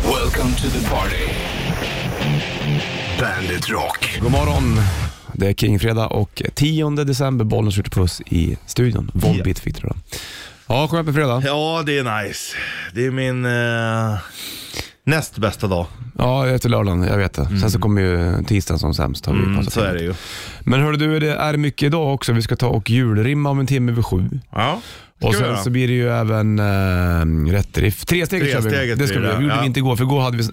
Welcome to the party. Bandit Rock. God morgon. Det är Kingfredag och 10 december, Bollnäs skjuter puss i studion. Volbeat fick du då. Ja, skönt med fredag. Ja, det är nice. Det är min eh, näst bästa dag. Ja, efter lördagen, jag vet det. Sen så kommer ju tisdagen som sämst. Har vi Mm, konstaterat. så är det ju. Men hörru du, det är mycket idag också. Vi ska ta och julrimma om en timme vid sju. Ja, det Och ska vi sen göra. så blir det ju även äh, rätt riff. Tre steget kör vi. Tresteget Det ska vi blir det, göra. gjorde ja. vi inte igår, för igår hade vi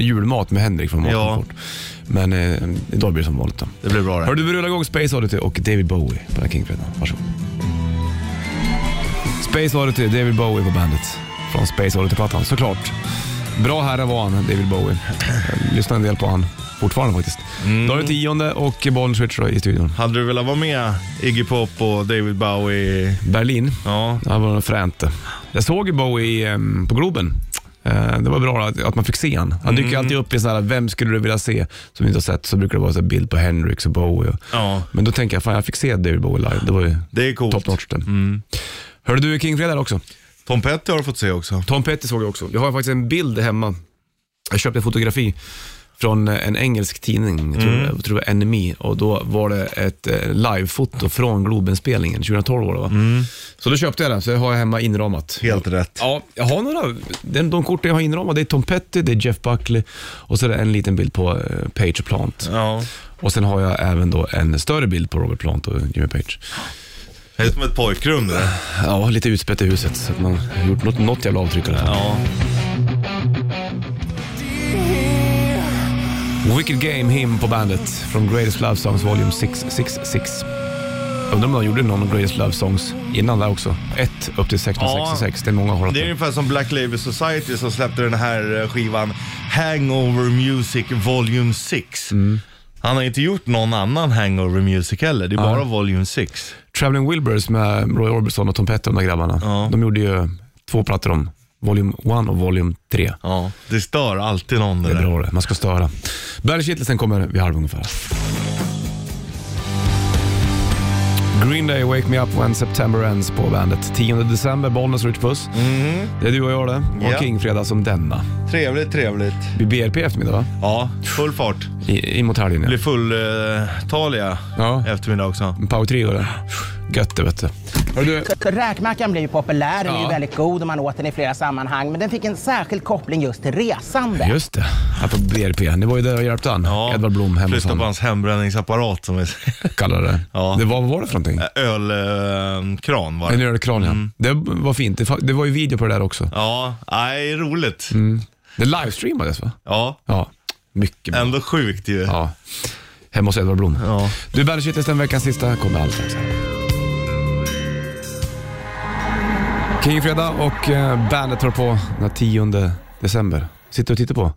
eh, julmat med Henrik från Ja. Matkomfort. Men eh, idag blir det som vanligt då. det blir bra det. Hör du, vi rullar igång Space Oddity och David Bowie på den här Kingfredagen. Varsågod. Space Oddity, David Bowie på bandet. Från Space Oddity-plattan, såklart. Bra herre var han, David Bowie. Jag lyssnar en del på han fortfarande faktiskt. Då är det tionde och Bollnäs Switch då i studion. Hade du velat vara med Iggy Pop och David Bowie? Berlin, Ja. det här var något fränt det. Jag såg ju Bowie i, em, på Globen. Eh, Det var bra att, att man fick se han. Han dyker ju alltid upp i sådana här, vem skulle du vilja se som du inte har sett? Så brukar det vara så här bild på Hendrix och Bowie. Och, ja, Men då tänker jag, fan jag fick se David Bowie live. Det var ju det är coolt. Top notch den. Hörde du King Fredag också? Tom Petty har du fått se också. Tom Petty såg jag också. Jag har faktiskt en bild hemma. Jag köpte en fotografi från eh, en engelsk tidning, jag tror, jag tror det var Enemy, och då var det ett eh, livefoto från Globenspelningen, 2012 var det va? Så då köpte jag den, så jag har jag hemma inramat. Helt rätt. Ja, jag har några, de, de korten jag har inramat, det är Tom Petty, det är Jeff Buckley och så är det en liten bild på eh, Page Plant. Ja. Och sen har jag även då en större bild på Robert Plant och Jimmy Page. Det är som ett pojkrum det. Ja, lite utspätt i huset. Så att man har gjort något, något jävla avtryck i alla fall. Ja. Wicked Game, him på bandet. Från Greatest Love Songs Volume 666. Undrar om de gjorde någon Greatest Love Songs innan där också. 1 upp till 666, det är många hållat Det är på. ungefär som Black Label Society som släppte den här eh, skivan Hangover Music Volume 6. Mm. Han har inte gjort någon annan Hangover Music heller, det är bara Volume 6. Traveling Wilburys med Roy Orbison och Tom Petty och de där grabbarna. Ja. De gjorde ju två plattor om. Volume 1 och Volume 3. Ja, det stör alltid någon det, Det är där. bra det, man ska störa. Bandit Kittelsen kommer vid halv ungefär. Green Day, Wake Me Up When September Ends på bandet. 10 december, Bollnäs Rich Puss. Det är du och jag det. Och Mhm. Ja. Kingfredag som denna. Trevligt, trevligt. Vi BRP i eftermiddag va? Ja, full fart. I, in mot helgen Blir ja. fulltaliga Ja. eftermiddag också. Power Trio det. Gött det vet du. Hör du. Räkmackan blir ju populär, den är Ja. ju väldigt god och man åt den i flera sammanhang. Men den fick en särskild koppling just till resande. Just det, här på BRP. Det var ju där jag hjälpte han. Ja. Edvard Blom hemma hos Flytta på honom. hans hembränningsapparat som vi Kallade det. Ja. det var, vad var det för någonting? Ölkran eh, var En det. ölkran ja. Det var fint. Det, fa- det var ju video på det där också. Ja, nej, roligt. Mm. Det livestreamades va? Ja, Ja, mycket bra. ändå sjukt ju. Ja. Hemma hos Edvard Blom. Ja. Du, Bandet Shitlist den veckans sista kommer alldeles strax. Kingfredag och eh, bandet hör på den 10 december. Sitter och tittar på.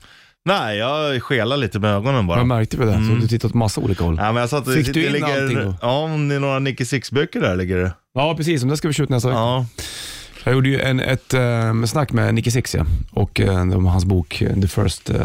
Nej, jag skelar lite med ögonen bara. Jag märkte väl det, Mm. så du tittar åt massa olika håll. Nej, men jag satt, Fick det, du det in ligger, allting då? Ja, det är några Nicky Six-böcker där ligger det. Ja, precis. Om det ska vi skjuta nästa vecka. Ja, Jag gjorde ju en, ett eh, snack med Nicky Six ja. och eh, om hans bok eh, The First eh,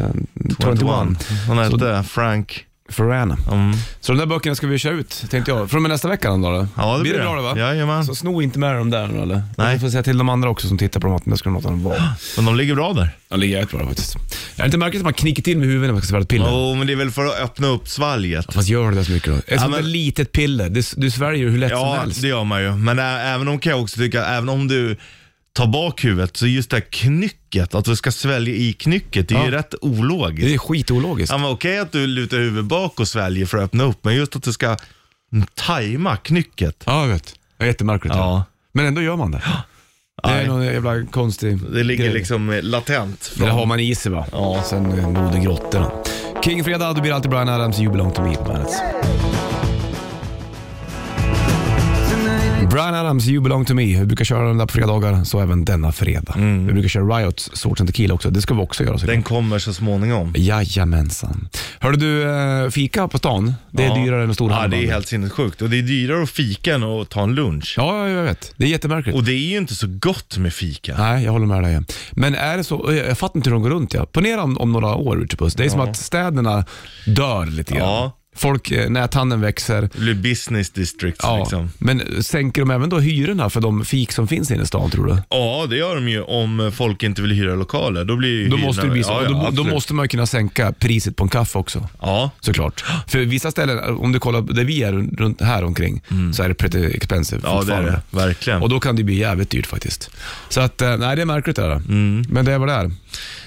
21. Hon Så- hette Frank. Ferrana. Mm. Så de där böckerna ska vi köra ut, tänkte jag. Från och med nästa vecka då? då. Ja, det blir blir det det. bra det va? Jajamän. Så sno inte med dem där nu eller? Nej. Jag får säga till de andra också som tittar på dem att de ska låta dem vara. Men de ligger bra där. De ligger jävligt bra faktiskt. Jag har inte märkt att man knicker till med huvudet när man ska svälja ett piller. Jo, men det är väl för att öppna upp svalget. Fast gör det där så mycket då? Ett sånt där men- litet piller, det, du sväljer hur lätt som Ja, helst. det gör man ju. Men ä- även om kan jag också tycka, även om du tar bak huvudet, så just det här knycket, att du ska svälja i knycket, det är ju Ja. rätt ologiskt. Det är skitologiskt. Ja, men okej att du lutar huvudet bak och sväljer för att öppna upp, men just att du ska mm, tajma knycket. Ja, jag vet. Det är jättemärkligt. Ja. Ja. Men ändå gör man det. Det är Nej. någon jävla konstig Det ligger grej. liksom eh, latent. Det Från... där har man i sig va? Ja. Sen eh, Moder Grotte. Kingfredag, då blir det alltid Brian Adams You Belong To Me på bandet. Brian Adams You Belong To Me. Vi brukar köra den där på fredagar, så även denna fredag. Vi brukar köra Riots Swords and Tequila också. Det ska vi också göra såklart. Mm. Den kommer så småningom. Jajamensan. Hörde du, eh, fika på stan, det är Ja. dyrare än en stor Ja, det handel. är helt sinnessjukt. Och det är dyrare att fika än att ta en lunch. Ja, ja, jag vet. Det är jättemärkligt. Och det är ju inte så gott med fika. Nej, jag håller med dig. Men är det så, jag jag fattar inte hur de går runt. Ja. Ponera om, om några år, Richard Puss. Det är som att städerna dör lite grann. Ja. Folk, eh, näthandeln växer. Det blir business districts Ja, liksom. Men sänker de även då hyrorna för de fik som finns inne i stan tror du? Ja, det gör de ju om folk inte vill hyra lokaler. Då blir ju Då hyrorna- måste, det bli så. ja, Och ja, då, då absolut. måste man ju kunna sänka priset på en kaffe också. Ja, Såklart. För vissa ställen, om du kollar där vi är runt här omkring, så är det pretty expensive Mm. ja det är fortfarande. det. Verkligen. Och då kan det bli jävligt dyrt faktiskt. Så att, eh, nej det är märkligt det där. Mm. Men det är vad det är.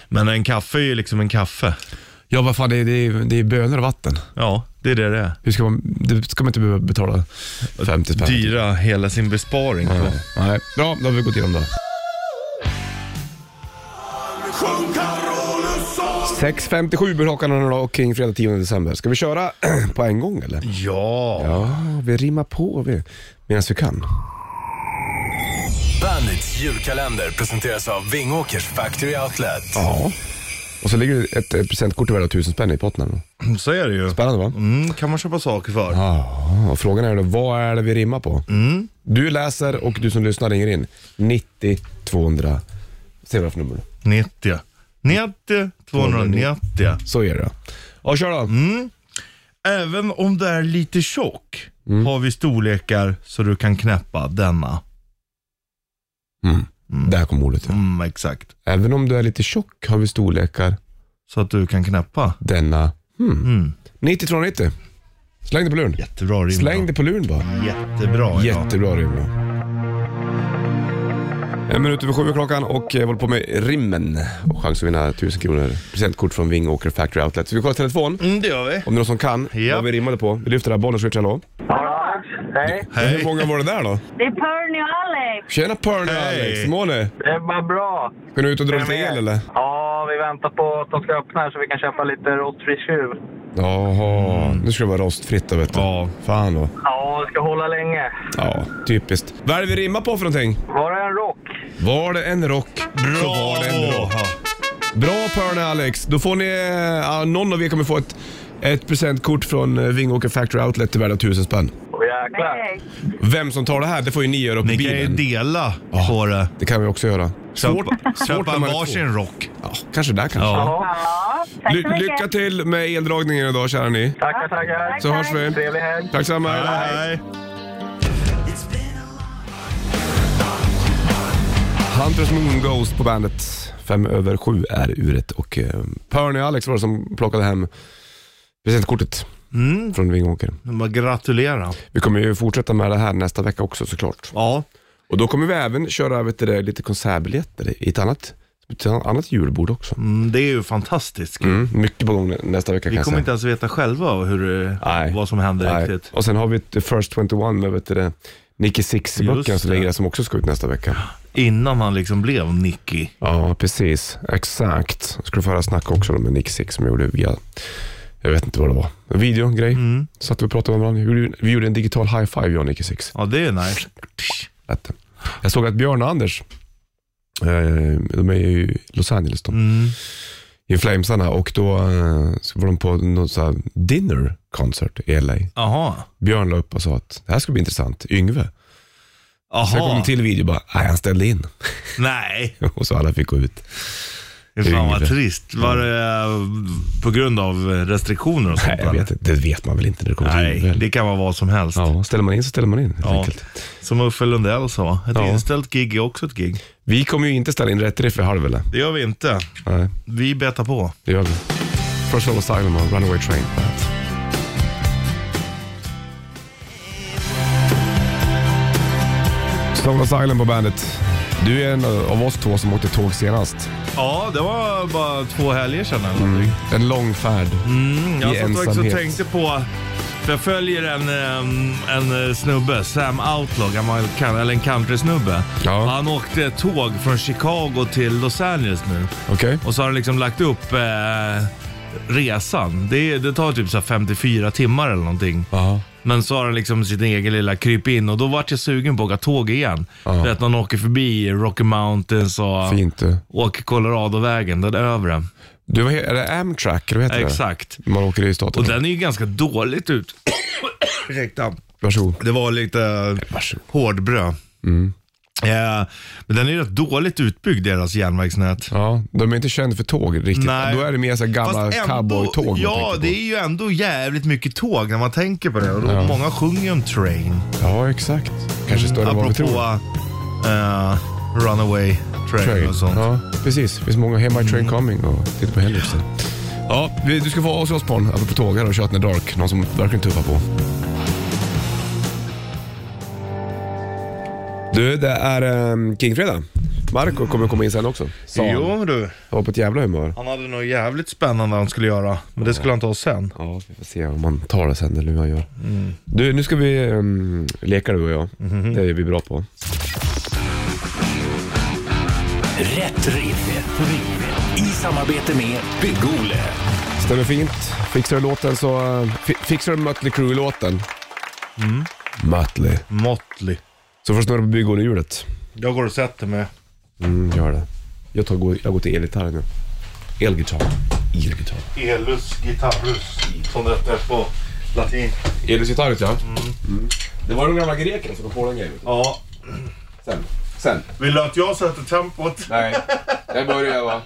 Men en kaffe är ju liksom en kaffe. Ja vad fan, det är, det är, det är bönor och vatten. Ja, det är det det är. Hur ska man, det ska man inte behöva betala 50 spänn. Dyra hela sin besparing på. Nej. Nej. Bra, då har vi gått igenom det. 6.57 blir klockan nu då och kring fredag 10 december. Ska vi köra på en gång eller? Ja. Ja, vi rimmar på vi, medan vi kan. Bandits julkalender presenteras av Vingåkers Factory Outlet. Ja. Och så ligger det ett eh, presentkort värda 1000 spänn i potten. så är det ju. Spännande va? Mm, kan man köpa saker för. Ja, och frågan är då, vad är det vi rimmar på? Du läser och du som lyssnar ringer in. 90 200. Se vad det är för nummer. 90. 90, 290. Så är det. Ja, kör då. Mm. Även om du är lite tjock Mm. har vi storlekar så du kan knäppa denna. Mm. Där kom ordet. ja. Mm, exakt. Även om du är lite tjock har vi storlekar Så att du kan knäppa. denna. Hmm. Mm. 90 290. Släng det på luren. Jättebra rim. Släng då. det på luren bara. Jättebra. idag. Jättebra rim. ja. En minut över sju är klockan och jag håller på med rimmen. Och chans att vinna 1000 kronor presentkort från Vingåker Factory Outlet. Så vi kollar telefon. Mm, det gör vi. Om det är någon som kan Ja. vad vi rimmade på. Vi lyfter det här bollen, switch, hallå. Hej. Hur Hej. många var det där då? Det är Perny och Alex. Tjena Perny och Hej. Alex, hur mår ni? Det var bra. Ska ni ut och dra lite el eller? Ja, vi väntar på att de ska öppna här så vi kan köpa lite rostfri tjuv. Jaha, nu ska det vara rostfritt då vet du. Mm. Ja. Fan då. Ja, det ska hålla länge. Ja, typiskt. Vad är det vi rimmar på för någonting? Var det en rock? Var det en rock Bra. så var det en rock. Ja. Bra Perny och Alex, då får ni, eh, ja, någon av er kommer få ett, ett presentkort från eh, Vingåker Factory Outlet till värde av 1000 spänn. Åh, jäklar. Vem som tar det här, det får ju ni göra upp i Ni kan ju bilen. dela på det. Det kan vi också göra. Köpa, svårt köpa när en man är varsin rock. Ja, kanske där kanske. Ja. Ja, tack så Ly- mycket. lycka till med eldragningen idag kära ni. Tackar, tackar. Så hörs vi. Trevlig helg. Tack så mycket. Hej. Hunters Moon Ghost på bandet. Fem över sju är uret och eh, Perny och Alex var det som plockade hem presentkortet Mm, från Vingåker. bara gratulera. Vi kommer ju fortsätta med det här nästa vecka också såklart. Ja. Och då kommer vi även köra vet du, det, lite konsertbiljetter i ett annat, ett annat julbord också. Mm, det är ju fantastiskt. Mm, mycket på gång nästa vecka Vi kan kommer jag inte säga. ens veta själva hur, eh, Nej. vad som händer Nej. riktigt. Och sen har vi ett First 21 med vet du, det, Nicky Six-böckerna Just som det. ligger där som också ska ut nästa vecka. Innan han liksom blev Nicky. Ja, precis. Exakt. Jag skulle få höra snack också med Nick Six som gjorde via, jag vet inte vad det var, en videogrej. Satt vi och pratade med varandra. Vi gjorde- Vi gjorde en digital high five jag och Nick Six. Ja, det är nice. Lätt. Jag såg att Björn och Anders, eh, de är ju i Los Angeles de, i Flamesarna och då eh, så var de på någon så här dinner concert i LA. Jaha. Björn la upp och sa att det här ska bli intressant, Yngve. Sen kom en Jaha. till video och bara, nej han ställde in. Nej. och så alla fick gå ut. Fy Fan vad Yngve. trist. Var det eh, på grund av restriktioner och sånt? Nej, jag vet inte. Det vet man väl inte när det kommer till Yngve. Nej, eller? det kan vara vad som helst. Ja, ställer man in så ställer man in helt Ja. enkelt. Som Uffe Lundell sa, ett Ja. inställt gig är också ett gig. Vi kommer ju inte ställa in rätt riff i halv eller? Det gör vi inte. Nej, Vi betar på. det gör vi. First Soul Asylum och Runaway Train. på bandet. Soul Asylum på bandet. Du är en av oss två som åkte tåg senast. Ja, det var bara två helger sedan eller någonting. En lång färd. Mm, jag I satt också och ensamhet. tänkte på, för jag följer en, ehm, en eh, snubbe, Sam Outlaw, gammal, kan- eller en countrysnubbe. Ja. Och Han åkte tåg från Chicago till Los Angeles nu. Okej? Och så har han liksom lagt upp eh, resan. Det, det tar typ så här 54 timmar eller någonting. Ja. Men så har han liksom sin egen lilla kryp in och då vart jag sugen på att åka tåg igen. Ja. Du vet när han åker förbi Rocky Mountains och Fint du. åker Coloradovägen, den övre. Du, vad he- är det Amtrak? Eller vad heter Exakt. det? Man åker i staten. Och den är ju ganska dåligt ut. Ursäkta. Varsågod. Det var lite Varsågod. Mm. hårdbröd. Eh, men den är ju rätt dåligt utbyggd, deras järnvägsnät. Ja, de är inte kända för tåg riktigt. Nej. Då är det mer så här gamla Fast ändå- cowboytåg. man Ja, tänker på. det är ju ändå jävligt mycket tåg när man tänker på det. Och då, Många sjunger om train. ja, exakt. Kanske större än vad vi Apropå tror. eh, runaway train, Train. och sånt. Mm. Ja, precis. Det finns många Hemma i Train Coming och titta på Hellersen. Ja, vi- du ska få oss oss på en apropå tåg här och Shut in the Dark. Någon som verkligen tuffar på. Du, det är um, Kingfredag. Marco kommer komma in sen också. Sa han. Jo du, Han var på ett jävla humör. han hade något jävligt spännande han skulle göra. Men det skulle han ta oss sen. Ja, vi får se om han tar det sen eller hur han gör. Du, nu ska vi ehm, leka du och jag. Det är vi bra på. Rätt riff. I samarbete med Bygg-Ole. Stämmer fint. Fixar du låten så... eh, fi- fixar du Mötley Crüe-låten? Mötley. Motley. Så får du snurra på bygghjulet. Jag går och sätter mig. Mm, gör det. Jag, tar, jag går till elgitarr nu. Elgitarr. Elgitarr. Elus guitarus, som det heter på latin. Elgitarret ja. Mm. Det var de gamla grekerna som kom på den grejen. Ja. Sen. Sen. Vill du att jag sätter tempot? Nej. Jag börjar va.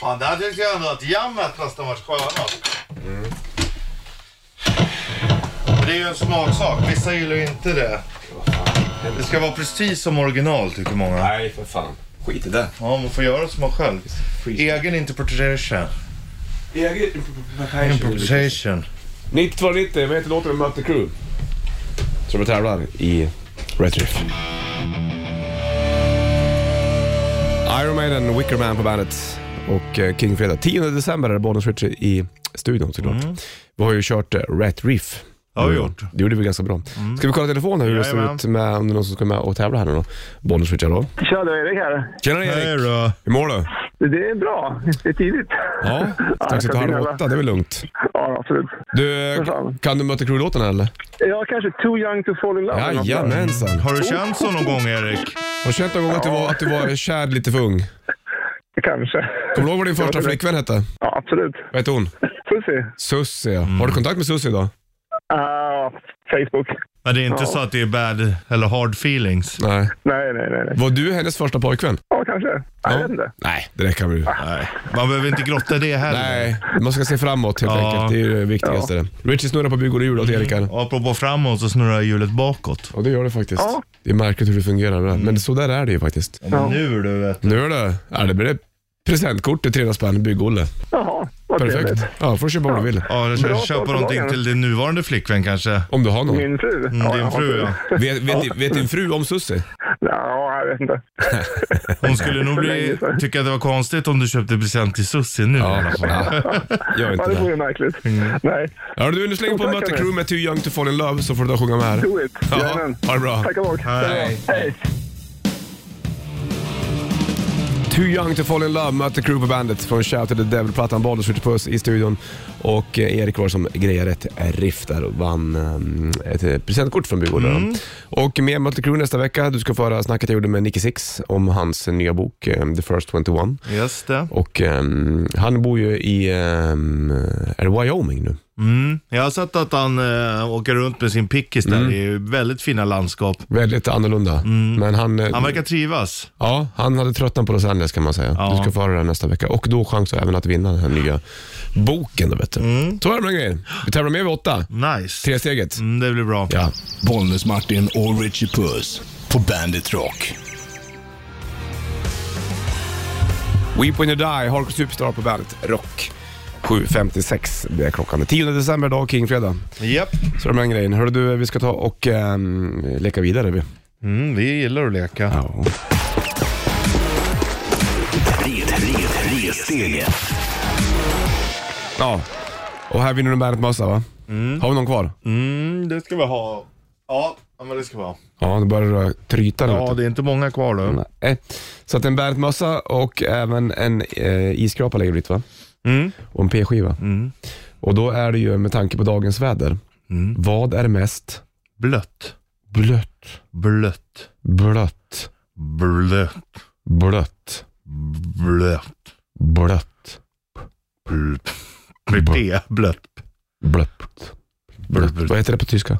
Fan, där tyckte jag ändå att jammet nästan varit skönast. Det är ju en smaksak. Vissa gillar ju inte det. Det ska vara precis som original tycker många. Nej för fan. Skit i det. Ja, man får göra som man själv. Egen interpretation. Interpretation. 9290, vad heter låten med Mötley Crüe? Som vi tävlar i Retriff. Iron Maiden, Wicker Man på bandet och eh, King Fredag. 10 december är det Bonus Richie i studion såklart. Vi har ju kört eh, Rat Riff. Ja, vi Mm. har gjort. Mm. Det gjorde vi ganska bra. Ska vi kolla telefonen hur det ser Jajamän. ut med om det är någon som ska med och tävla här nu då? Bonus Richie, hallå? Tja, det är Erik här. Tjena Hej Erik! då. Hur mår du? Det är bra. Det är tidigt. Ja, strax efter kan halv vi åtta, det är väl lugnt. Ja, absolut. Du, fan. kan du möta Crew-låten här eller? Ja, kanske Too Young to Fall in Love. eller något sånt där. Jajamensan! Har du känt så någon gång Erik? Har du känt någon gång att du, var, att du var kär lite för ung? Kanske. Kommer du ihåg vad din Det var första det. flickvän hette? Ja, absolut. Vad hette hon? Pussy. Sussie ja. Har du kontakt med Sussie idag? Ah, Facebook. Men det är inte så att det är bad eller hard feelings. Nej. Nej, nej, nej. nej. Var du hennes första pojkvän? Ja, kanske. Ja. Jag vet inte. Nej, det räcker med det. Nej. Man behöver inte grotta i det heller. Nej, man ska se framåt helt Ja. enkelt. Det är ju det viktigaste. Richie snurrar på bygg och hjul åt Erik här. Mm. Och apropå framåt så snurrar hjulet bakåt. Ja, det gör det faktiskt. Ja. Det är märkligt hur det fungerar. med det. Men så där är det ju faktiskt. Men Nu du vet Nu är det, ja, det blir det presentkort till 300 spänn, bygg-Olle. Jaha, vad Perfekt. trevligt. Ja, får du köpa vad du vill. Ja, du ska Bra köpa start på någonting dagen. till din nuvarande flickvän kanske? Om du har någon. Min fru? Mm, din jag har fru en ja. Vet, vet, vet din fru om Sussie? Ja, jag vet inte. Hon skulle nog För bli, länge sedan. tycka att det var konstigt om du köpte present till Sussie nu i alla fall. Gör Ja, inte Mm. det det. vore märkligt. Nej, Ja, du, nu slänger på Tack, Mötley hörni. Crüe med Too Young To Fall In Love så får du ta och sjunga med här. do it. Ja, Jajamän. ha det bra. Tack och bock. Hej. Hej. Too Young To Fall In Love, Mötley Crüe på bandet från Shout To The Devil-plattan. Bollnäs skjuter på oss i studion och eh, Erik var som grejade ett riff där och vann ehm, ett eh, presentkort från Bygården. Och med Mötley Crüe nästa vecka, du ska få höra snacket jag gjorde med Nicky Six om hans eh, nya bok eh, The First 21. Just det. Och ehm, han bor ju i, ehm, är det Wyoming nu? Mm. Jag har sett att han eh, åker runt med sin pickis där Mm. i väldigt fina landskap. Väldigt annorlunda. Men han, eh, Mm. Han verkar trivas. ja, han hade tröttnat på Los Angeles kan man säga. Ja. Du ska få höra det nästa vecka. Och då chans även att vinna den här nya boken. Då, vet du. Så är det med den grejen. Vi tävlar med vid åtta. Nice. Tresteget. Mm, det blir bra. Ja. Bollnäs-Martin och Richie Puss på Bandit Rock. Weep When You Die, Hardcore Superstar på bandet Rock. 7.56, det är klockan. Den 10 december, dag Kingfredag. Japp. Så är det med den grejen. Hörru du, vi ska ta och ehm, leka vidare. Vi. Mm, vi gillar att leka. Ja. Steget. ja. Och här vinner du bandet-mössa va? Har vi någon kvar? Mm, det ska vi ha. Ja, ja, men det ska vi ha. Ja, då börjar det tryta nu. vet Ja, du. det är inte många kvar då. Nej. Så att en bärtmössa och även en eh, isskrapa lägger du dit va? Mm. Och en p-skiva. Och då är det ju med tanke på dagens väder. Vad är mest Mm. Blött. blött, Blött. blött, Blött. blött, Blött. blött, Blött. Blött. Blött. blött, blött? Vad heter det på tyska?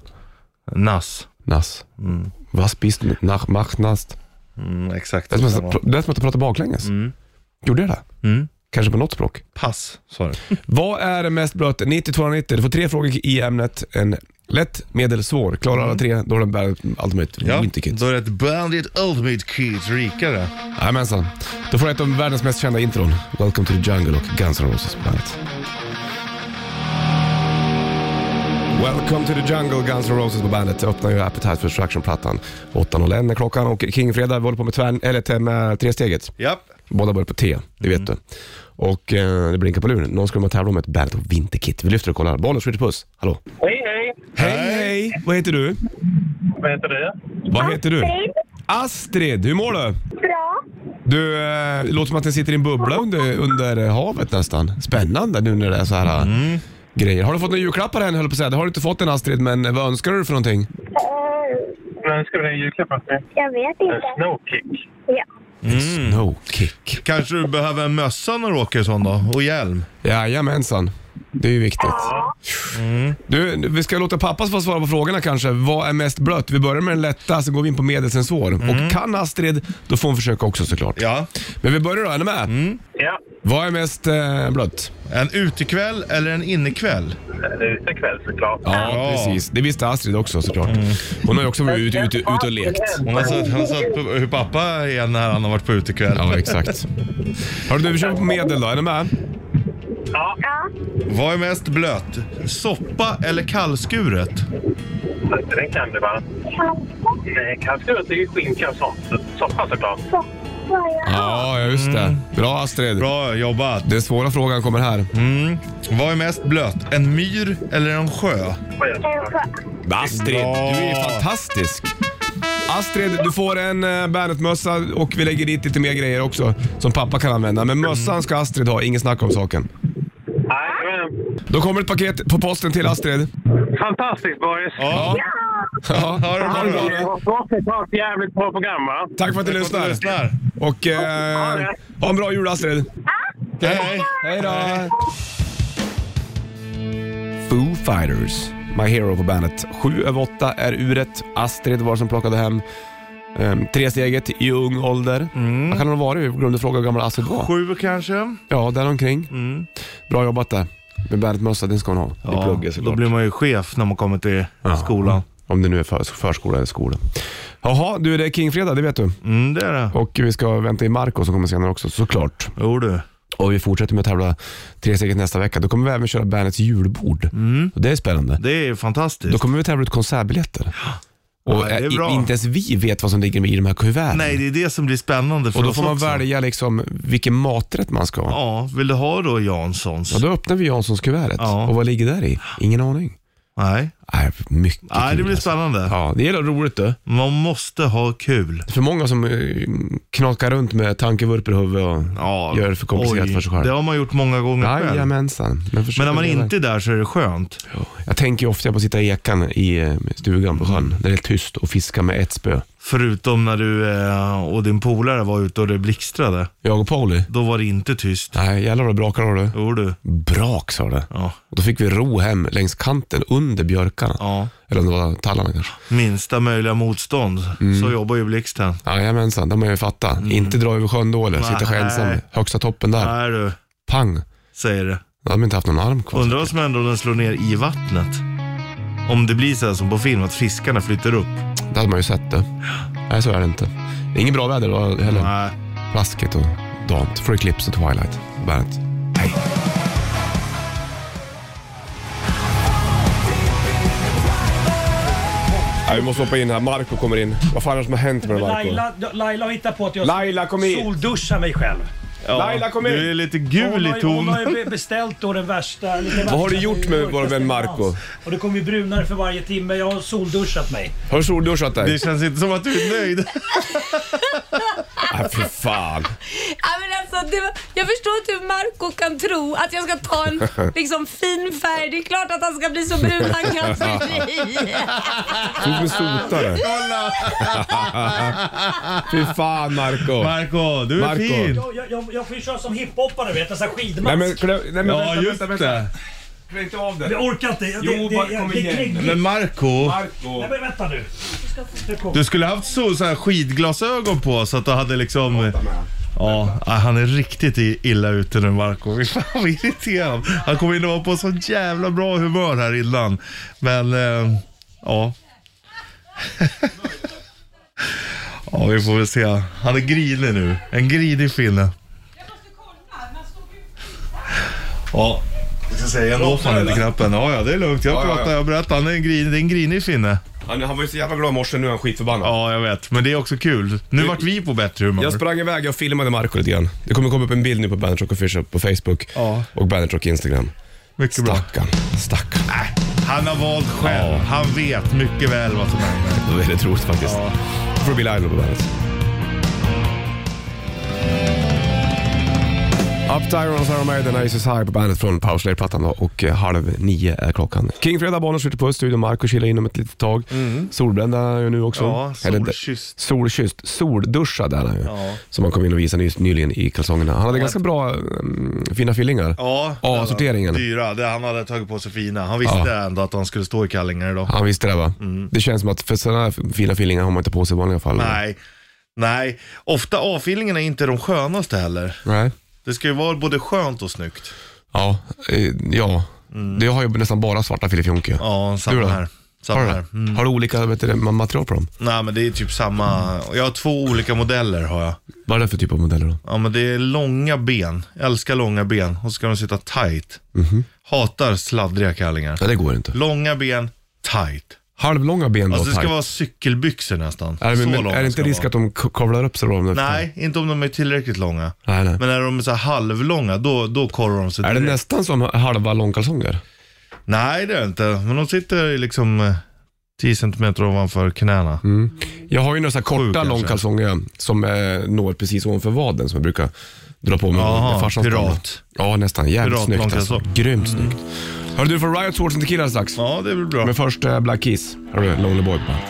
Nass. Nass. Mm. Was bist du? Nach, mach, nast. Mm, exakt. Det är som att- det är som att prata baklänges. Mm. Gjorde jag det? Mm. Kanske på något språk. Pass, sa du. Vad är det mest blött? 90-290. Du får tre frågor i ämnet. En lätt, medel, svår. Klarar alla tre, då har den bärat Ultimate Mm. Ja, Winter Kit. då är det ett Bandit Ultimate Kit rikare. Jajamensan. Då får du ett av världens mest kända intron. Welcome to the jungle och Guns N' Roses på bandet. Welcome to the jungle, Guns N' Roses på bandet. Det öppnar ju Appetite for Destruction-plattan. 8.01 är klockan och Kingfredag, vi håller på med, tvär, eller med tresteget. Japp. Båda börjar på T, det vet du. Och eh, det blinkar på luren. Någon ska vara tävla om ett Bandet och Vinterkit. Vi lyfter och kollar. Bollen skjuter puss. Hallå? Hej, hej! Hej, hej! Vad heter du? Vad heter du? Vad heter du? Astrid, hur mår du? Bra. Du, eh, det låter som att den sitter i en bubbla under, under eh, havet nästan. Spännande nu när det är så här eh, grejer. Har du fått några julklappar än, höll jag på att säga. Det har du inte fått än Astrid, men eh, vad önskar du för någonting? Eh, Vem ska vi ge julklappar till? jag vet Eh, inte. Snowkick. Ja. Snowkick. Kanske du behöver en mössa när du åker sån då? Och hjälm? Jajamensan. Det är ju viktigt. Mm. Du, vi ska låta pappas få svara på frågorna kanske. Vad är mest blött? Vi börjar med den lätta, sen går vi in på medelsensor. Och kan Astrid, då får hon försöka också såklart. Mm. Ja. Mm. Men vi börjar då, är ni med? Ja, Vad är mest eh, blött? En utekväll eller en innekväll? det är ikväll såklart. Ja, Ja. Mm. precis. Det visste Astrid också såklart. Hon har ju också varit ute, ute, ute och lekt. Hon har sett, hon har sett på- hur pappa är när han har varit på utekväll. Ja, exakt. Hörru du, vi kör på medel då. Är ni med? Ja. Vad är mest blött? Soppa eller kallskuret? Den kan du va? Kanske. Nej, kalvskuret är ju skinka och sånt. Soppa såklart. Så. Vad jag Ja, just det. Bra Astrid. Mm. Bra jobbat. Den svåra frågan kommer här. Vad är mest blött? En myr eller en sjö? Vad är det? kanske. Astrid, Bra. du är fantastisk. Astrid, du får en eh, Bandet-mössa och vi lägger dit lite mer grejer också som pappa kan använda. Men mössan ska Astrid ha, inget snack om saken. Nej, men... Då kommer ett paket på posten till Astrid. Fantastiskt Boris! Ja. Ja, Ha det bra då. nu. Förhoppningsvis har ett jävligt bra program va? Tack för att du lyssnar. Lyssnar. Och eh, ha en bra jul Astrid. Hej, hej. Hej då! Foo Fighters, My Hero på bandet. Sju över åtta är uret. Astrid var det som plockade hem um, tresteget i ung ålder. Vad kan hon ha varit? Vi glömde fråga hur gammal Astrid var. Sju kanske? Ja, där omkring. Mm. Bra jobbat där. Med bandet-mössa, den ska hon ha. I plugget då såklart. blir man ju chef när man kommer till skolan. Om det nu är för, förskola eller skola. Jaha, du det är Kingfredag, det vet du. Mm, det är det. Och vi ska vänta in Marco som kommer senare också, såklart. Jo du. Och vi fortsätter med att tävla tre steget nästa vecka. Då kommer vi även köra bandets julbord. Och det är spännande. Mm. Det är fantastiskt. Då kommer vi tävla ut konsertbiljetter. Och Ja, det är eh, i- bra. inte ens vi vet vad som ligger i de här kuverten. Nej, det är det som blir spännande för och då oss får man också. välja liksom vilken maträtt man ska ha. Ja. Ja, vill du ha då Janssons? då öppnar vi Janssons kuvertet. Ja. Och vad ligger där i? Ingen aning. Nej. Nej, mycket Nej, det kul blir alltså. spännande. Ja, det är roligt du. Man måste ha kul. För många som eh, knakar runt med tankevurpor i huvudet och Ja. gör det för komplicerat Oj, för sig själv. Det har man gjort många gånger själv. Jajamensan. Men, försök Men när man leva- inte är där så är det skönt. Jag tänker ju ofta på att sitta i ekan i eh, stugan på sjön, när det är tyst och fiska med ett spö. Förutom när du eh, och din polare var ute och det blixtrade. Jag och Pauli? Då var det inte tyst. Nej, jävlar vad det brakade då, du. Jo du. Brak sa det. Ja. Och då fick vi ro hem längs kanten under björkarna. ja. Eller om det var tallarna kanske. Minsta möjliga motstånd. Mm. Så jobbar ju blixten. Jajamensan, det har man ju fattat. Inte dra över sjön då eller sitta Mm. Nej. själv ensam. Högsta toppen där. Nej du, Pang. säger det. Då hade man inte haft någon arm kvar. Undrar vad som händer om den slår ner i vattnet. Om det blir så här som på film, att fiskarna flyter upp. Det hade man ju sett det. Nej, så är det inte. Det är inget bra väder då heller. Nej. Plaskigt och dant. Får Eclipse och Twilight. Bandet. Hej. Nej, vi måste hoppa in här. Marco kommer in. Vad fan är det som har hänt med Marco? Laila, Laila har hittat på att jag Laila, kom hit! solduscha mig själv. Ja. Laila, kom in! Du är lite Hon gul har, i ju- hon har tonen. ju be- beställt då den värsta... Vad har du gjort med vår vän Marco? Och det kommer ju brunare för varje timme. Jag har solduschat mig. Har du solduschat dig? Det känns inte som att du är nöjd. Nej, fy fan. Ja, men alltså, det var, jag förstår inte hur Marco kan tro att jag ska ta en liksom, fin färg. Det är klart att han ska bli så brun han kan bli. Du är som en sotare. Fy fan, Marco. Marco, du är Marco. fin. Jag, jag, jag, jag får ju köra som hiphoppare vet, en sån här skidmask. Nej, men, klä, nej, men Ja, vänta, just vänta, vänta. det. Klä inte av Jag det. orkar inte. Det, Jo, det, bara det, kom det, igen. är krig- Men Marco, Nej Marco. men vänta nu. Nu kommer- du skulle haft så, så här skidglasögon på så att du hade liksom... Ja, ah, han är riktigt i- illa ute nu Marco. Fy Fan vad irriterad. Han kom in och var på så jävla bra humör här innan. Men, eh, ja. Ja, vi får väl se. Han är grinig nu. En grinig finne. Ja. Jag ska säga, jag når fan inte knappen. Ja, ja, det är lugnt. Jag Ja, ja, ja. pratar, jag berättar. Han är en grinig, det är en grinig finne. Han, han var ju så jävla glad i morse, nu är han skitförbannad. Ja, jag vet. Men det är också kul. Nu vart vi på bättre humör. Jag sprang iväg, jag filmade Marco lite grann. Det kommer komma upp en bild nu på Bandit Rock Official på Facebook Ja. och Bandit Rock Instagram. Mycket bra. Stackarn, stackarn. Han har valt själv. Ja. Han vet mycket väl vad som händer. Det var väldigt roligt faktiskt. Ja. Då får det bli Lilo på bandet. Up Tyrons Iron Maiden, Isis High på bandet från Powerslay-plattan då och eh, halv nio är klockan. King Fredag, Bonniers ute på studion. Marco chillar in om ett litet tag. Solbrända är jag nu också. Mm. Ja, Eller- solkysst. solkysst. Solduschad är han ju. Ja. Som han kom in och visade nyss, nyligen i kalsongerna. Han hade ganska bra, mm, fina fillingar. Ja, A-sorteringen. Dyra. Det han hade tagit på sig fina. Han visste ändå att han skulle stå i kallingar idag. Han visste det va? Det känns som att för sådana här fina fillingar har man inte på sig i vanliga fall. Mm. Nej. Nej. Ofta A-fillingarna är inte de skönaste heller. Nej. Det ska ju vara både skönt och snyggt. Ja, eh, ja. Det har ju nästan bara svarta filifjonker. Mm. Ja, samma Du då? här. Samma Har du här. Mm. det? Har du olika vet du, det, ma- material på dem? Nej men det är typ samma. Jag har två olika modeller har jag. Vad är det för typ av modeller då? Ja men det är långa ben. Jag älskar långa ben. Och så ska de sitta tight. Mhm. Hatar sladdriga kallingar. Ja, det går inte. Långa ben, tight. Halvlånga ben då? Alltså det ska tack. vara cykelbyxor nästan. är, det, så men, långa är det inte ska risk vara. att de k- kavlar upp sig då? om det- Nej, inte om de är tillräckligt långa. nej, nej. Men när de är så här halvlånga, då, då korrar de sig Är det direkt. nästan som halva långkalsonger? Nej, det är det inte. Men de sitter i liksom eh, 10 cm ovanför knäna. Mm. Jag har ju några så här Sju, korta kanske. långkalsonger som eh, når precis ovanför vaden som jag brukar dra på mig. Jaha, med farsans pirat. gamla. Ja, nästan. Jävligt Pirat snyggt alltså. långkalsong. Mm. Grymt snyggt. Hörru du, får Riot Swords and Tequila strax. Ja, det är väl bra. Men först eh, Black Keys. Här har du Lonely Boy på bandet.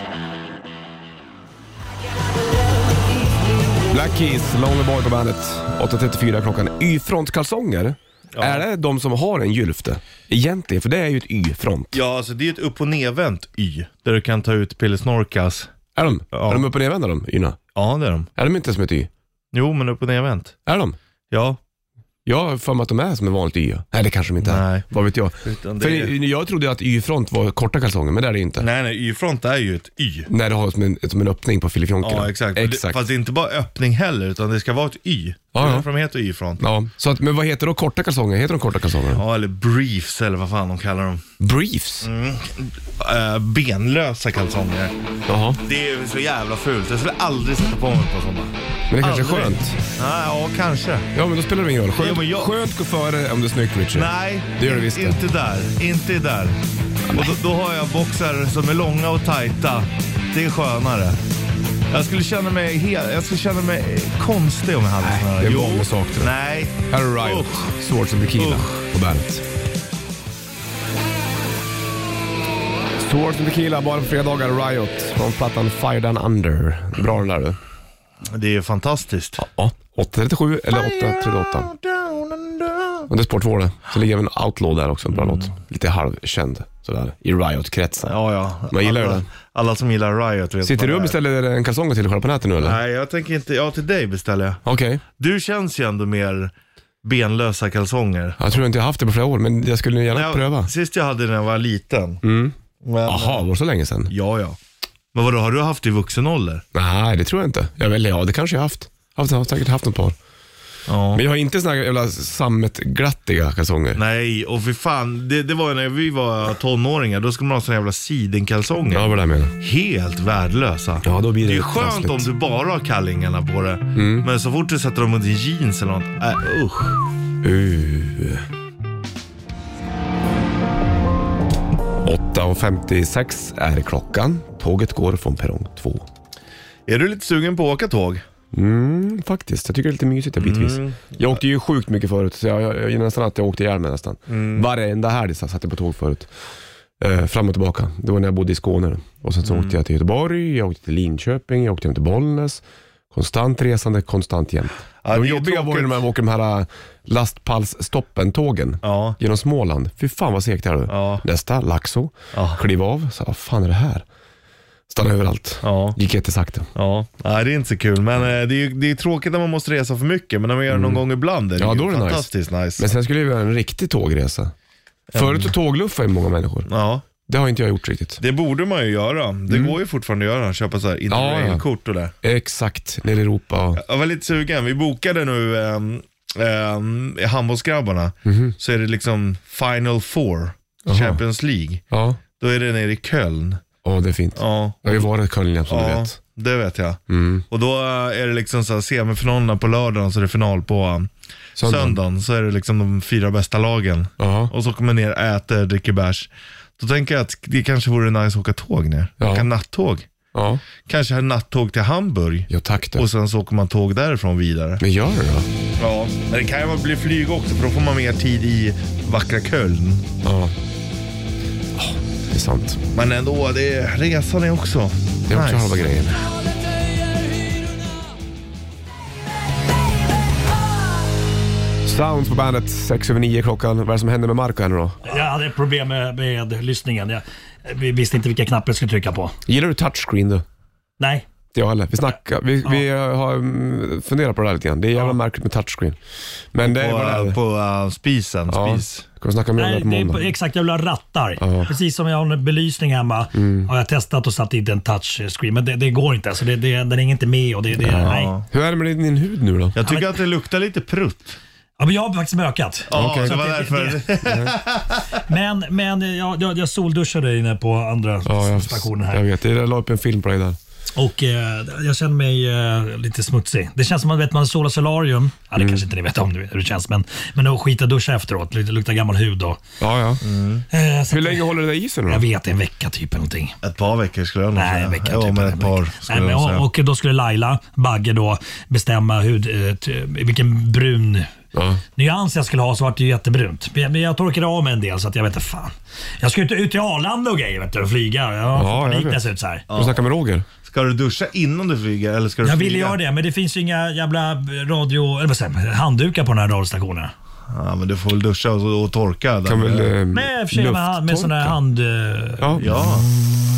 Black Keys, Lonely Boy på bandet. 8.34 klockan. Y-frontkalsonger. Är det de som har en gylfte? Egentligen, för det är ju ett Y-front. Ja, alltså det är ett upp och nedvänt Y. Där du kan ta ut pillesnorkas. Är de? Ja. Är de upp och nervända de yna? Ja, det är de. Är de inte som ett Y? Jo, men upp och nedvänt. Är de? Ja. Jag har för mig att de är som ett vanligt Y. Nej, det kanske de inte är. Nej. Vad vet jag? Utan det För är- jag trodde att Y-front var korta kalsonger, men det är det ju inte. Nej, nej, Y-front är ju ett Y. När du har som en, som en öppning på filifjonkerna. Ja, exakt. Men det- exakt. Fast det är inte bara öppning heller, utan det ska vara ett Y. Det Ja, är ja. därför de heter Y-front. Ja, så att, men vad heter då korta kalsonger? Heter de korta kalsonger? Ja, Mm. eller briefs eller vad fan de kallar dem. Briefs? Eh, benlösa kalsonger. Jaha. Det är så jävla fult. Jag skulle aldrig sätta på mig på sådana. Men det kanske är Aldrig. skönt? Nej, ja, kanske. Ja, men då spelar det ingen roll. Skönt, Jo, men jag- skönt gå före om det är snyggt Richard. Nej, Det gör det visst det. inte där. Inte där. Och då, då har jag boxar som är långa och tajta. Det är skönare. Jag skulle känna mig, hel, jag skulle känna mig eh, konstig om jag hade såna här. det är Jo. vanlig sak, tror jag. Nej. Här är Riot, Usch. Swords and Bikini Usch. på bandet. Swords and Tequila bara på fredagar, Riot. Från plattan Fire Down Under. Bra den där du. Det är ju fantastiskt. Ja. 837 eller 838. Och det är Sport det. Så ligger även Outlaw där också, en bra låt. Lite halvkänd sådär, i Riot-kretsen. Mm. Ja, ja. Man gillar ju alla, den. Alla som gillar Riot vet Sitter vad du och det är. beställer en kalsong till dig själv på nätet nu eller? Nej, jag tänker inte. Ja, till dig beställer jag. Okej. Du känns ju ändå mer benlösa kalsonger. Jag tror inte jag haft det på flera år, men jag skulle gärna Jag- pröva. Sist jag hade den när jag var liten. Men, Jaha, var det så länge sedan? Ja, ja. Men vadå, har du haft i vuxen ålder? Nej, det tror jag inte. Ja, eller ja, det kanske jag haft. Jag har haft- säkert haft något par. Ja. Men jag har inte såna här jävla sammetglattiga kalsonger. Nej, och för fan. Det, det var ju när vi var tonåringar. Då skulle man ha såna jävla sidenkalsonger. Ja, vad det jag menar. Helt värdelösa. Ja, då blir det det är Mm. lite skönt trassligt. om du bara har kallingarna på det. Men så fort du sätter dem under jeans eller något. Äh, usch. Uh. 8.56 är klockan. Tåget går från perrong 2. Är du lite sugen på att åka tåg? Mm, faktiskt. Jag tycker det är lite mysigt ja, bitvis. Mm. Jag åkte ju sjukt mycket förut, så jag, jag, jag nästan att jag åkte ihjäl mig nästan. Mm. Varenda helg så satt jag på tåg förut. Eh, fram och tillbaka. Det var när jag bodde i Skåne. Och sen så Mm. åkte jag till Göteborg, jag åkte till Linköping, jag åkte hem till Bollnäs. Konstant resande, konstant jämt. Ja, det de är jobbiga var ju när tråkigt. man åker de här eh, lastpallsstoppen-tågen Ja. genom Småland. Fy fan vad segt det är. du. Ja. Nästa, Laxå. Ja. Kliv av, så, vad fan är det här? Stanna överallt. Ja. Gick jättesakta. Ja, nej det är inte så kul. Men eh, det är, ju- det är tråkigt när man måste resa för mycket, men när man gör det någon gång ibland är det, Mm. Ja, ju då är det nice. fantastiskt nice. Men sen skulle jag göra en riktig tågresa. Förut så tågluffade ju många människor. Ja, Det har inte jag gjort riktigt. det borde man ju göra. Det Mm. går ju fortfarande att göra, köpa så här interrailkort och det. Exakt, nere i Europa. och- Jag var lite sugen, vi bokade nu ehm, ehm, handbollsgrabbarna, Mhm. så är det liksom final four, Champions League. Ja, Då är det nere i Köln. ja det är fint. Ja, Jag har ju varit i Köln som du ja vet. Mm. det vet jag. Och då eh, är det liksom så här semifinalerna på lördagen, så är det final på eh, Söndagen. söndagen. Så är det liksom de fyra bästa lagen. Ja. och så kommer jag ner, äter, dricker bärs. Då tänker jag att det kanske vore nice att åka tåg ner. Ja. Åka nattåg. Ja. Kanske ha nattåg till Hamburg. ja, tack du. Och sen så åker man tåg därifrån vidare. Men gör det då. Ja, men det kan ju bli flyg också för då får man mer tid i vackra Köln. Ja. Ja, Det är sant. Men ändå, det är, resan är också Det är också nice. halva grejen. Sounds på bandet, sex över nio klockan. Vad är det som händer med Marco här nu då? Jag hade problem med, med lyssningen. Jag vi visste inte vilka knappar jag skulle trycka på. Gillar du touchscreen då? Nej, Inte jag heller. Vi, snackar, vi, vi har mm, funderat på det där lite grann. Det är jävla märkligt med touchscreen. Men det är vad det På, är. på eh, spisen, Ja, spis. Ska vi snacka mer om det nej här på det är, måndag? på- exakt. Jag vill ha rattar. Precis som jag har en belysning hemma Mm. har jag testat och satt in en touchscreen. Men det, det går inte. Alltså det, det, den hänger inte med. Och det, det, nej. Hur är det med din hud nu då? Jag tycker att det luktar lite prutt. Ja, men jag har faktiskt mökat. Ja, Så det att var därför. men men jag, jag, jag solduschade inne på andra Ja, jag, stationen här. jag vet. Jag la upp en film på dig där. Och eh, jag känner mig eh, lite smutsig. Det känns som att vet, man solar solarium. Ja, det Mm. kanske inte ni vet om hur det känns, men, men att skita duscha efteråt. Det luktar gammal hud då. Ja, ja. Eh, så Hur att- länge håller det dig i sig nu Jag då? vet, en vecka typ eller någonting. Ett par veckor skulle jag nog Nej, säga. en vecka. ja, typ, men en ett vecka. par Nej, skulle men, jag nog säga. och, och då skulle Laila Bagge då bestämma hur, eh, t- vilken brun Ja. nyans jag skulle ha så vart det ju jättebrunt. Men jag- men jag torkade av mig en del så att jag vet inte fan. Jag ska ju inte ut till Arlanda och grejer vet du, och flyga. Jag Ja, har jag panik när vet. jag ser ut så här. Får du snacka med Roger? Ska du duscha innan du flyger eller ska du Jag flyga? ville göra det, men det finns ju inga jävla radio, eller vad säger man, handdukar på den här radiostationen. Ja, men du får väl duscha och, och torka. där. Kan väl eh, Med, i och för sig, med, hand- med sån där lufttorka? hand... eh, Ja. Ja,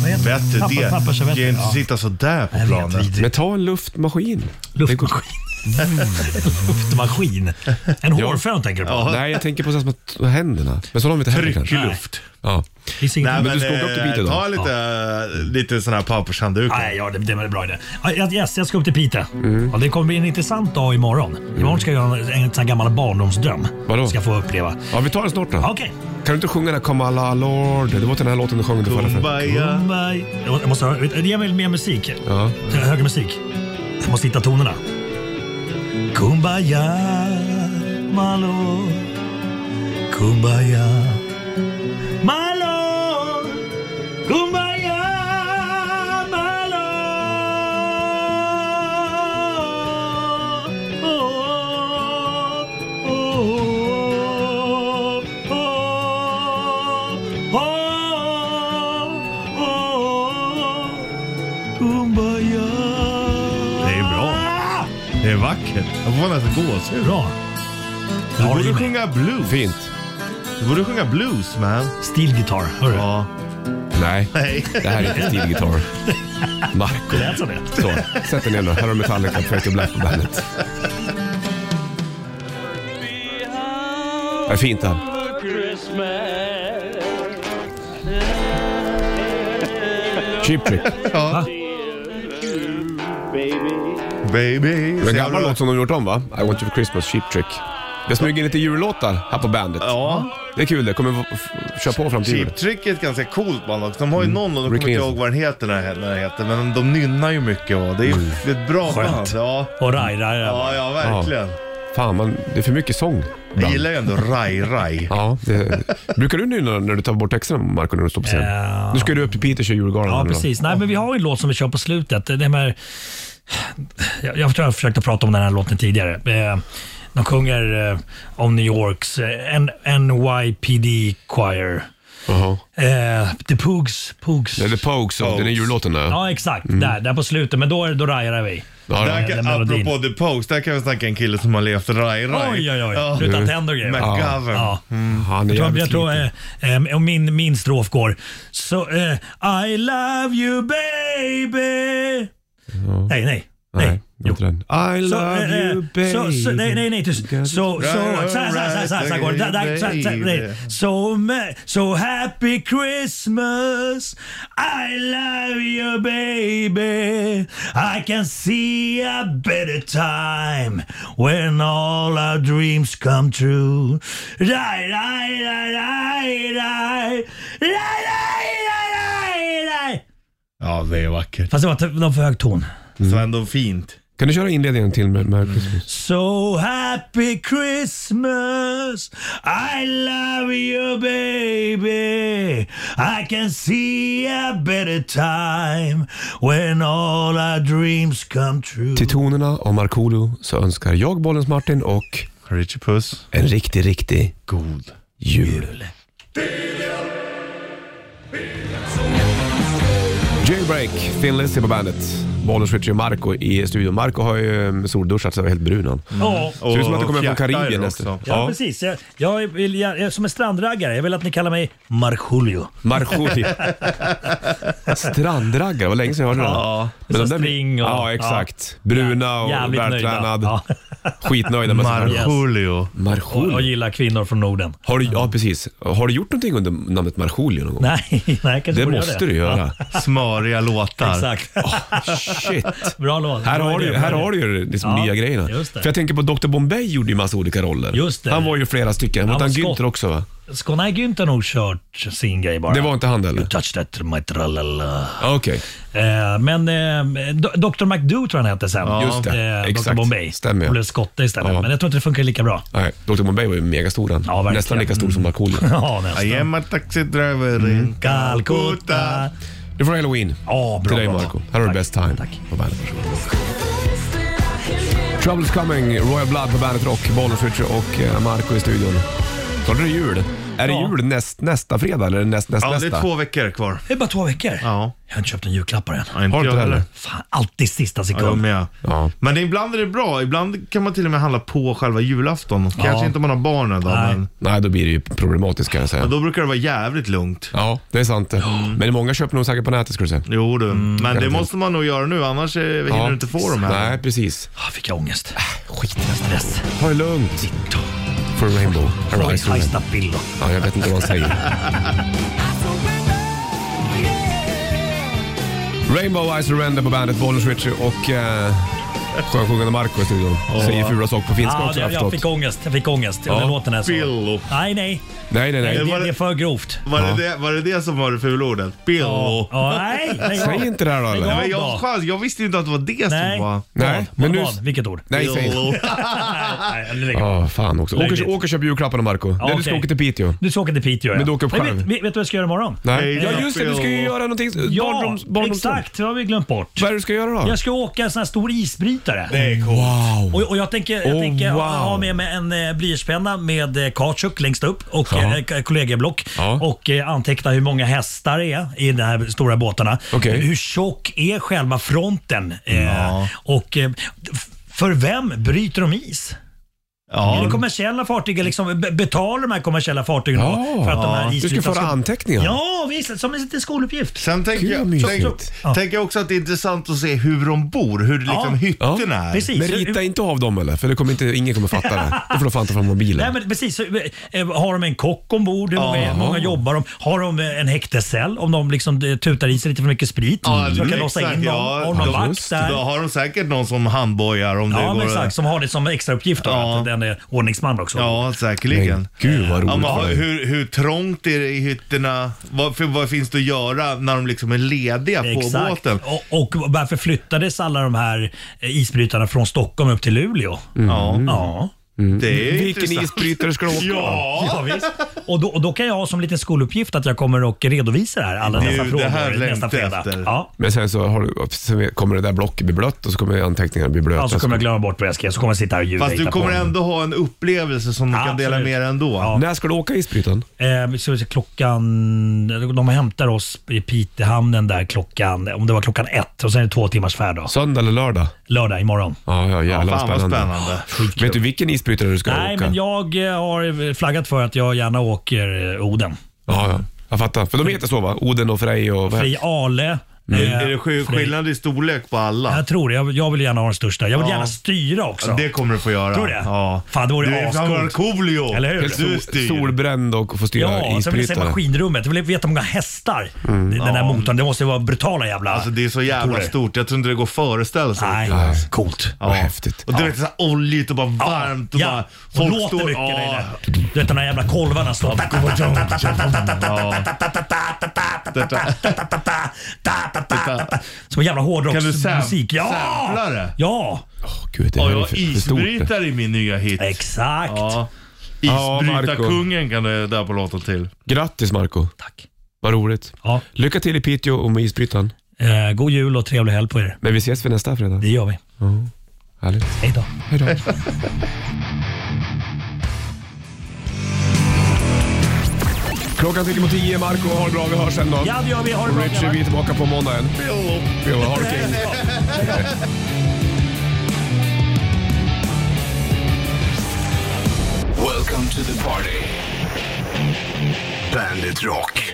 vad heter bättre Pappa- det. pappa, så kan vet ju jag. inte Ja. sitta sådär på Jag vet, planet. vidrigt. Men ta en luftmaskin. Luftmaskin. Luftmaskin. En hårfön tänker du på? Mm. Ja. Nej, jag tänker på sånt som att- händerna. Men så har de inte heller kanske. Tryckluft. Ja. Finns inget- Nej, Men men, du ska åka upp till eh, Piteå då? Ta lite, lite sån här pappershandduk. Nej, ja, det, det var en bra idé. Ja, jag- Yes, jag ska upp till Piteå. Mm. Ja, det kommer bli en intressant dag imorgon. Imorgon ska jag göra en, en sån här gammal barndomsdröm. Vadå? Ska jag få uppleva. ja, vi tar den snart då. Ja, Okej. Kan du inte sjunga den här Come Alla Lord? Det var till den här låten du sjöng under förra fredagen. Kumbaya. Bye. Jag måste höra, ge mig mer musik. Ja. Eh, Högre musik. Jag måste hitta tonerna. Kumbaya, Malo. Kumbaya, Malo. Kumbaya, Malo. Oh, oh, oh, oh, oh, oh. är vackert. Jag får nästan gåshud. Bra. Du Jag har det borde i mig. sjunga blues. Fint. Du borde sjunga blues man. Steel guitar, hörru. Ja. Ja. Nej, Nej. det här är inte Steel Guitar. Marco. Lät som det? Så, sätt dig ner nu. Här har du Metallica, Fade to Black på bandet. Det är fint det här. Cheap Trick. Baby. Det är en gammal låt som de gjort om va? I want you for Christmas, Cheap Trick. Jag smyger in lite jullåtar här på bandet. Ja. Det är kul det. Kommer få- f- köra på fram till jul. Cheap Trick är ett ganska coolt band också. De har ju någon, och de Rick kommer inte Nielsen. ihåg vad den heter, när den heter men de nynnar ju mycket och det är ju ett bra Skönt. band. Ja. Och Rai Rai Rai. Ja, ja verkligen. Fan, man, det är för mycket sång. Jag gillar ju ändå Rai Rai. Ja, det, brukar du nynna när du tar bort texterna, Marco, när du står på scen? Ja. Nu ska du upp till Piteå och köra julgalan. Ja, nu då. precis. Nej, men vi har ju en låt som vi kör på slutet. Det med, jag, jag tror jag försökte prata om den här låten tidigare. Eh, De sjunger eh, om New Yorks eh, N- NYPD Choir. Jaha. Eh, the Pugs. Pugs. Det är The Mm. Pokes, ja. den är jullåten där. Ja, exakt. Där, där på slutet. Men då, är- då rajar vi. Ja, Där Den kan, melodin. apropå The Post, där kan vi snacka en kille som har levt Rai Rai. Oj, oj, oj. Ja. Utan tänder och grejer. McGovern. Ja. Mm. Han är Jag tror, jävligt jag tror, sliten. eh, eh, och min, min strof går så, eh, I love you baby. Nej, nej. Nej, eh, nej. det var inte den. Ah, I Så, love eh, eh, you baby. så, så, nej, nej, nej. tyst. Så, så, så, här, Right, så, här, så, här, så, här, så här går det. Där, där, så här, så här, nej. So, ma- so happy Christmas I love you baby I can see a better time When all our dreams come true Rai, rai, rai, rai, rai Rai, rai, rai, rai, rai Ja, det är vackert. Fast det var, det var för hög ton. Mm. Så ändå fint. Kan du köra inledningen till med Merry Mm. Christmas? So happy Christmas! I love you baby! I can see a better time when all our dreams come true. Till tonerna av Markoolio så önskar jag Bollens Martin och Richie Puss. en riktig, riktig God. jul. Jailbreak, Thin Lizzy på bandet. Bollens Richie och Marco i studion. Marco har ju eh, solduschat så är helt brun han. Ja. Ser ut som att du Och kommer från fjärtar Karibien också. nästan. Ja, precis. Jag, jag, vill, jag, jag är som en strandraggare. Jag vill att ni kallar mig Markoolio. Markoolio. Strandraggare, vad länge sedan jag hörde det. Ja. Men Så de där- spring och- Ja, exakt. Bruna och Jävligt vältränad. nöjda. Ja. Skitnöjda med sina... Marjolio. Och, och Markoolio. gillar kvinnor från Norden. Har du, ja, precis. Har du gjort någonting under namnet Markoolio någon gång? Nej, nej jag kanske Det borde måste det. du göra. Smöriga låtar. Exakt. Shit. Bra låt. Här Bra har, idé, du, bra här idé. har du ju liksom Ja, nya grejerna. just det. För jag tänker på Dr Bombay gjorde ju massa olika roller. Just det. Han var ju flera stycken. Var Han inte han var Günther skott. också va? Ska nej, Günther har nog kört sin grej bara. Det var inte han You heller? touched that my tralala. Ja, Okej, Eh, men eh, Do- Dr. McDo tror jag han hette sen. Ja, just det. Dr. Exakt. Bombay. Stämmer, ja. Och blev skotte istället. Ja. Men jag tror inte det funkar lika bra. Nej, Dr Bombay var ju megastor han. Ja, verkligen. Nästan lika stor som Markoolio. Ja, I nästan. am a taxi driver in Mm. Calcutta. Calcutta. Du får halloween. Ja, bra. Till dig bra. Marco. Här har du Tack. Best Time Tack. på bandet. Troubles Coming, Royal Blood på bandet Rock, Bollnäs Ritchie och eh, Marco i studion. Snart är det jul. Är det Ja. jul näst, nästa fredag eller näst, näst, Ja, det nästa? är två veckor kvar. Det är bara två veckor. Ja. Jag har inte köpt en julklapp än. Ja, inte Har du jag inte heller? Fan, alltid sista Ja, jag sekund. med. Ja. Men det, ibland är det bra. Ibland kan man till och med handla på själva julafton. Kanske inte om man har barnen då, Nej. men, Nej, då blir det ju problematiskt kan jag säga. men då brukar det vara jävligt lugnt. Ja, det är sant. Men många köper nog säkert på nätet skulle jag säga. Jo du, men det garanterat. måste man nog göra nu annars eh, hinner Mm, Ja. du inte få de här. Nej, precis. Ah, fick jag ångest. Skit i stress. Ha Äh, det lugnt. For Rainbow. Horizon. High snap bild då. Ja, jag vet inte vad han säger. Rainbow I Surrender på bandet, Bollnäs Ritchie och eh, skönsjungande Marco i studion. Säger fula saker på finska Ja, också jag, har jag förstått. jag fick ångest. Jag fick ångest. Ja. Ja. Den låten är så. Pillo. Nej, nej. Nej, nej, Det, nej. var det det- är för grovt. Var, det det, var det det som var det fula ordet? Billo. Ja, nej, nej. Säg inte det här då Lägg eller? av. Men jag, chans, jag visste inte att det var det Nej. som var... Nej, men nu... Vad? Vilket ord? Nej, säg inte. Billo. Nej, eller lägg av. Ja, fan också. Lägg Åk och, dit. åk och köp julklapparna Marco. Nej, du ska okej. åka till Piteå. Du ska åka till Piteå ja. Men du åker upp Nej, själv. Vet, vet du vad jag ska göra imorgon? Nej. Hej då, Ja, just det. Du ska ju Billo. göra någonting. Ja, Barndoms- barndomsdag. exakt. Det har vi glömt bort. Vad är det du ska göra då? Jag ska åka en sån här stor isbrytare. Det är coolt. Wow. Och, och jag tänker, jag Oh, tänker wow. ha med mig en eh, blyertspenna med eh, kautschuk längst upp och Ja. eh, k- kollegieblock Ja. och eh, anteckna hur många hästar det är i de här stora båtarna. Okej. Hur tjock är själva fronten? Eh, och, eh, f- För vem bryter de is? Ja. Eller kommersiella fartyg, eller liksom be- betalar de här kommersiella fartygen Ja, då för att de här Du ska isbrytarna föra anteckningar. Ja, visst. Som en liten skoluppgift. Sen tänker Gud, jag, mysigt. tänk, Ja. tänker jag också att det är intressant att se hur de bor, hur liksom hytterna är. Precis. Men Så- rita inte av dem eller? För det kommer inte, ingen kommer fatta det. Då får de fan ta fram mobilen. Nej, men precis. Så, eh, Har de en kock ombord? Hur många, hur många jobbar de? Har de eh, en häktescell om de liksom eh, tutar i sig lite för mycket sprit? Ja, mm, så de kan exakt, låsa in dem. ja. har de någon Ja, vakt just där? Då har de säkert någon som handbojar om det Ja, går. men exakt. Som har det som extrauppgift då, Ja. att den är ordningsman också. Ja, säkerligen. Men gud vad roligt Ja, men för har- dig. hur, hur trångt är det i hytterna? Vad, för, vad finns det att göra när de liksom är lediga på Exakt. båten? Och, och varför flyttades alla de här eh, isbrytarna från Stockholm upp till Luleå? Ja, Ja. det är Mm. Vilken intressant. isbrytare ska du åka? Ja, Ja, visst. Och, då, och då kan jag ha som liten skoluppgift att jag kommer och redovisar det här, alla Det är dessa ju det frågor här nästa längtar fredag. efter. Ja. Men sen så har du, sen kommer det där blocket bli blött och så kommer anteckningarna bli blöta. Ja, så Alltså kommer jag glömma bort vad jag skrev, så kommer jag sitta här och ljuga fast du hitta på. kommer ändå ha en upplevelse som du kan Absolut. dela med dig ändå. Ja. När ska du åka isbrytaren? Eh, så, så klockan, de hämtar oss i Pitehamnen där klockan, om det var klockan ett och sen är det två timmars färd då. Söndag eller lördag? Lördag imorgon. Ja, ja jävlar Fan vad vad spännande. spännande. Vet du vilken isbrytare du ska Nej, åka? men jag eh, har flaggat för att jag gärna åker eh, Oden. Ja, ja. Jag fattar. För de heter så va? Oden och Frej och... vad Fri heter- Ale. eh, Mm. Är det skill- Frej- skillnad i storlek på alla? Jag tror det. Jag, jag vill gärna ha den största. Jag vill Ja. gärna styra också. Det kommer du få göra. Tror du det? Ja. Fan, det vore du är fan ascoolt. Markoolio. Eller hur? Du är Sol- styr. Solbränd och får styra Ja, sen vill jag se isbrytare. maskinrummet. Jag vill veta hur många hästar den där motorn. Det måste ju vara brutala jävla... Mm. Alltså det är så jävla motorer. stort. Jag tror inte det går att föreställa sig. Nej, coolt. Ja. Vad häftigt. Och du vet såhär oljigt och bara varmt och bara... Ja, och låter mycket Ja. där inne. Du vet de där jävla kolvarna står... Som en jävla hårdrocksmusik. Ja! Ja! Åh, Gud, det Ja, här jag är har för, för stort. det. isbrytare i min nya hit. Exakt. Ja. Ja, Marco. Isbrytarkungen kan det där på låten till. Grattis Marco Tack. Vad roligt. Ja. Lycka till i Piteå och med isbrytaren. Eh, God jul och trevlig helg på er. Men vi ses för nästa fredag. Det gör vi. Härligt. Hej då. Hej då. Klockan tickar mot tio. Marco ha det bra. Vi hörs sen då. Ja, det gör vi. Ha det Och bra Richie, vi är tillbaka på måndagen. Jo, ha det kul. Welcome to the party. Bandit Rock.